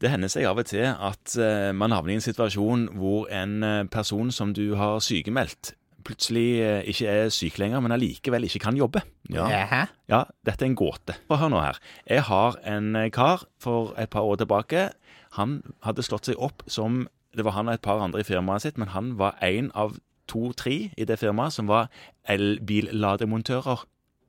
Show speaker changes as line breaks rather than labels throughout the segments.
Det hender seg av og til at eh, man havner i en situasjon hvor en eh, person som du har sykemeldt, plutselig eh, ikke er syk lenger, men allikevel ikke kan jobbe.
Jaha.
ja, dette er en gåte. Få hør nå her. Jeg har en eh, kar for et par år tilbake. Han hadde slått seg opp som Det var han og et par andre i firmaet sitt, men han var en av to-tre i det firmaet som var elbillademontører.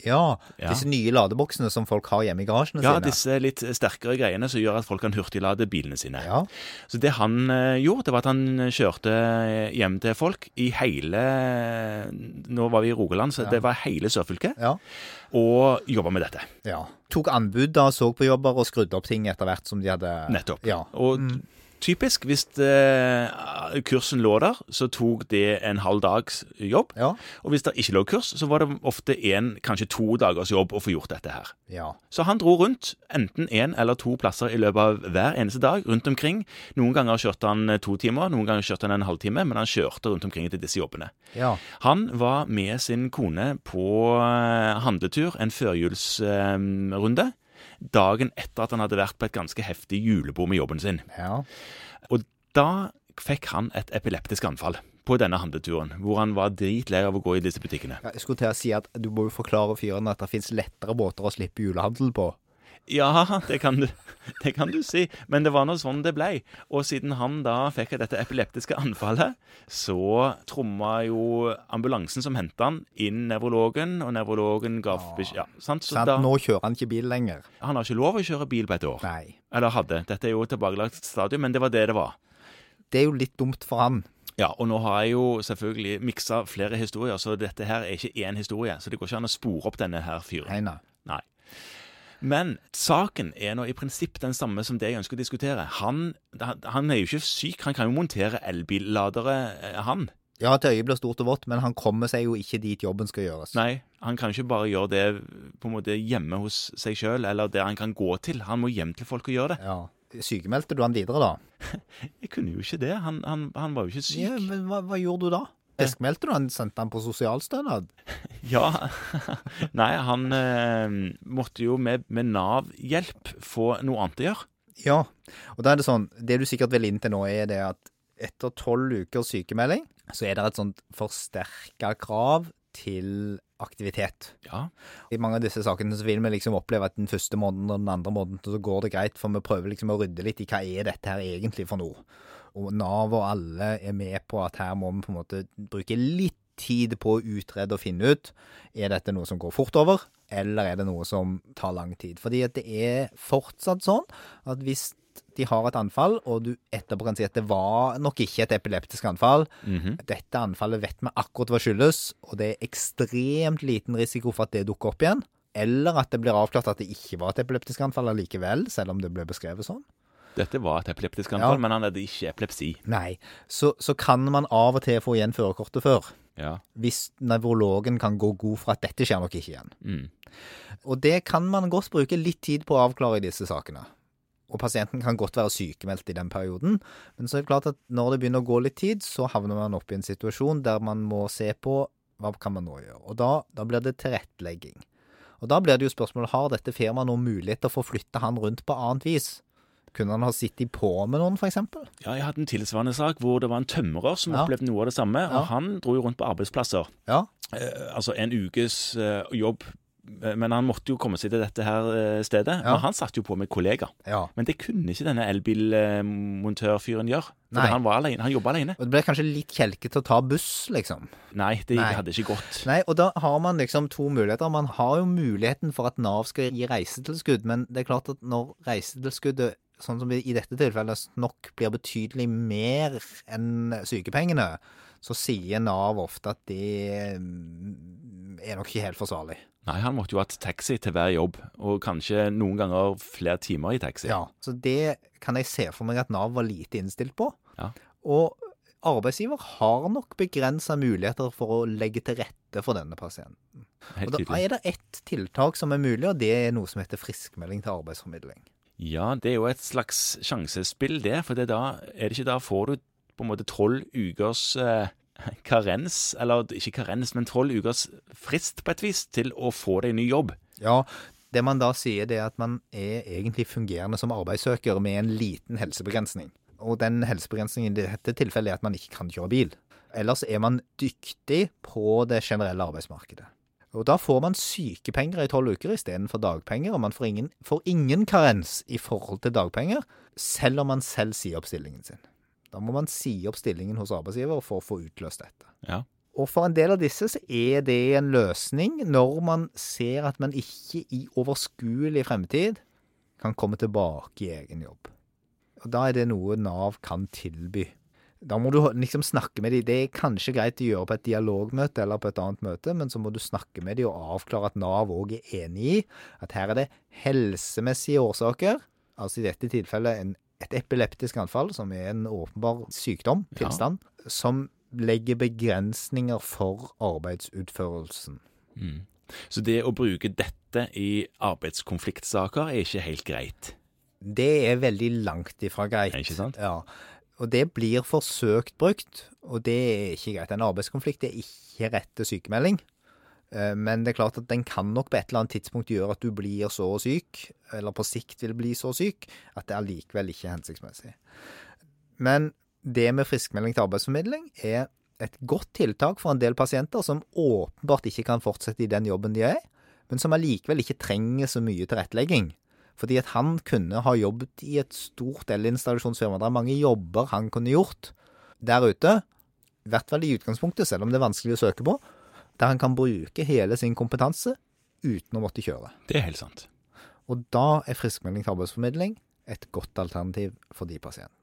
Ja,
Ja.
disse nye ladeboksene som folk har hjemme i garasjene
Ja,
sine.
disse litt sterkere greiene som gjør at folk kan hurtiglade bilene sine.
Ja,
Så det han eh, gjorde, det var at han kjørte eh, hjem til folk i hele Nå var vi i Rogaland, så
Ja.
det var hele sørfylket,
ja,
og jobba med dette.
ja. Tok anbud da, så på jobber og skrudde opp ting etter hvert som de hadde
Nettopp.
Ja. Mm.
Og typisk, hvis eh, kursen lå der, så tok det en halv dags jobb.
Ja.
Og hvis det ikke lå kurs, så var det ofte én, kanskje to dagers jobb å få gjort dette her.
ja.
Så han dro rundt, enten én eller to plasser i løpet av hver eneste dag, rundt omkring. Noen ganger kjørte han eh, to timer, noen ganger kjørte han en halvtime, men han kjørte rundt omkring til disse jobbene.
Ja.
Han var med sin kone på eh, handletur, en førjulsrunde, dagen etter at han hadde vært på et ganske heftig julebord med jobben sin.
ja.
Og da fikk han et epileptisk anfall på denne handleturen, hvor han var dritlei av å gå i disse butikkene.
Ja, Jeg skulle til å si at du må jo forklare fyren at det fins lettere båter å slippe julehandel på.
Ja, det kan, du, det kan du si, men det var nå sånn det blei. Og siden han da fikk dette epileptiske anfallet, så tromma jo ambulansen som henta han, inn nevrologen, og nevrologen ga besk- ja, sant? Så
Sant?
da,
Nå kjører han ikke bil lenger.
Han har ikke lov å kjøre bil på et år.
Nei.
Eller hadde. Dette er jo et tilbakelagt stadium, men det var det det var.
Det er jo litt dumt for han.
Ja, og nå har jeg jo selvfølgelig miksa flere historier, så dette her er ikke én historie. Så det går ikke an å spore opp denne her fyren.
Nei, nei.
Nei. Men saken er nå i prinsipp den samme som det jeg ønsker å diskutere. Han, han er jo ikke syk, han kan jo montere elbilladere, eh, han.
Ja, at øyet blir stort og vått, men han kommer seg jo ikke dit jobben skal gjøres.
Nei, han kan ikke bare gjøre det på en måte hjemme hos seg sjøl, eller der han kan gå til. Han må hjem til folk og gjøre det.
Ja. Sykemeldte du han videre, da?
Jeg kunne jo ikke det. Han, han, han var jo ikke syk.
Ja, men hva, hva gjorde du da? Friskmeldte du han? Sendte han på sosialstønad?
Ja. Nei, han eh, måtte jo med, med Nav-hjelp få noe annet å gjøre.
Ja. Og da er det sånn, det du sikkert vil inn til nå, er det at etter tolv ukers sykemelding, så er det et sånt forsterka krav til aktivitet.
Ja.
I mange av disse sakene så vil vi liksom oppleve at den første måneden og den andre måneden så går det greit, for vi prøver liksom å rydde litt i hva er dette her egentlig for noe. Og Nav og alle er med på at her må vi på en måte bruke litt tid på å utrede og finne ut er dette noe som går fort over, eller er det noe som tar lang tid. Fordi at det er fortsatt sånn at hvis de har et anfall, og du etterpå kan si at det var nok ikke et epileptisk anfall,
mhm.
dette anfallet vet vi akkurat hva skyldes, og det er ekstremt liten risiko for at det dukker opp igjen. Eller at det blir avklart at det ikke var et epileptisk anfall allikevel, selv om det ble beskrevet sånn.
Dette var et epileptisk anfall,
Ja.
men han hadde ikke epilepsi.
Nei, så, så kan man av og til få igjen førerkortet før.
Ja.
Hvis nevrologen kan gå god for at dette skjer nok ikke igjen.
Mm.
Og det kan man godt bruke litt tid på å avklare i disse sakene. Og pasienten kan godt være sykemeldt i den perioden, men så er det klart at når det begynner å gå litt tid, så havner man opp i en situasjon der man må se på hva kan man nå gjøre. Og da, da blir det tilrettelegging. Og da blir det jo spørsmålet har dette firmaet noen mulighet til å få flytte han rundt på annet vis. Kunne han ha sittet på med noen, for eksempel?
ja, jeg hadde en tilsvarende sak hvor det var en tømrer som
Ja.
opplevde noe av det samme.
Ja.
Og han dro jo rundt på arbeidsplasser.
Ja.
Eh, altså en ukes eh, jobb. Eh, Men han måtte jo komme seg til dette her eh, stedet.
Ja.
Men han satt jo på med kollegaer.
ja.
Men det kunne ikke denne elbilmontørfyren gjøre. For
Nei.
han, var alene. han jobba alene.
Og det blir kanskje litt kjelkete å ta buss, liksom.
Nei, det
Nei.
hadde ikke gått.
Nei, og da har man liksom to muligheter. Man har jo muligheten for at Nav skal gi reisetilskudd, men det er klart at når reisetilskuddet, sånn som i dette tilfellet, nok blir betydelig mer enn sykepengene, så sier Nav ofte at det mm, er nok ikke helt forsvarlig.
Nei, han måtte jo hatt taxi til hver jobb, og kanskje noen ganger flere timer i taxi.
Ja. Så det kan jeg se for meg at Nav var lite innstilt på.
Ja.
Og arbeidsgiver har nok begrensa muligheter for å legge til rette for denne pasienten.
Helt
Og da
tydelig.
er det ett tiltak som er mulig, og det er noe som heter friskmelding til arbeidsformidling.
Ja, det er jo et slags sjansespill, det. For det er da, er det ikke da får du på en måte tolv ukers eh, karens, eller ikke karens, men tolv ukers frist på et vis til å få deg ny jobb.
Ja, Det man da sier, det er at man er egentlig fungerende som arbeidssøker med en liten helsebegrensning. Og den helsebegrensningen i dette tilfellet er at man ikke kan kjøre bil. Ellers er man dyktig på det generelle arbeidsmarkedet. Og da får man sykepenger i tolv uker istedenfor dagpenger, og man får ingen, får ingen karens i forhold til dagpenger, selv om man selv sier opp stillingen sin. Da må man si opp stillingen hos arbeidsgiver for å få utløst dette.
Ja.
Og for en del av disse så er det en løsning når man ser at man ikke i overskuelig fremtid kan komme tilbake i egen jobb. Og da er det noe Nav kan tilby. Da må du liksom snakke med dem. Det er kanskje greit å gjøre på et dialogmøte eller på et annet møte, men så må du snakke med dem og avklare at Nav òg er enig i at her er det helsemessige årsaker, altså i dette tilfellet en, et epileptisk anfall, som er en åpenbar sykdom,
Ja.
tilstand, som legger begrensninger for arbeidsutførelsen.
Mm. Så det å bruke dette i arbeidskonfliktsaker er ikke helt greit.
Det er veldig langt ifra greit.
Ikke sant?
Ja. Og det blir forsøkt brukt, og det er ikke greit. En arbeidskonflikt er ikke rett til sykemelding. Eh, Men det er klart at den kan nok på et eller annet tidspunkt gjøre at du blir så syk, eller på sikt vil bli så syk, at det allikevel ikke er hensiktsmessig. Men det med friskmelding til arbeidsformidling er et godt tiltak for en del pasienter som åpenbart ikke kan fortsette i den jobben de er, men som allikevel ikke trenger så mye tilrettelegging. Fordi at han kunne ha jobbet i et stort elinstallasjonsfirma. Det er mange jobber han kunne gjort der ute, i hvert fall i utgangspunktet, selv om det er vanskelig å søke på, der han kan bruke hele sin kompetanse uten å måtte kjøre.
Det er helt sant.
Og da er friskmelding til arbeidsformidling et godt alternativ for de pasientene.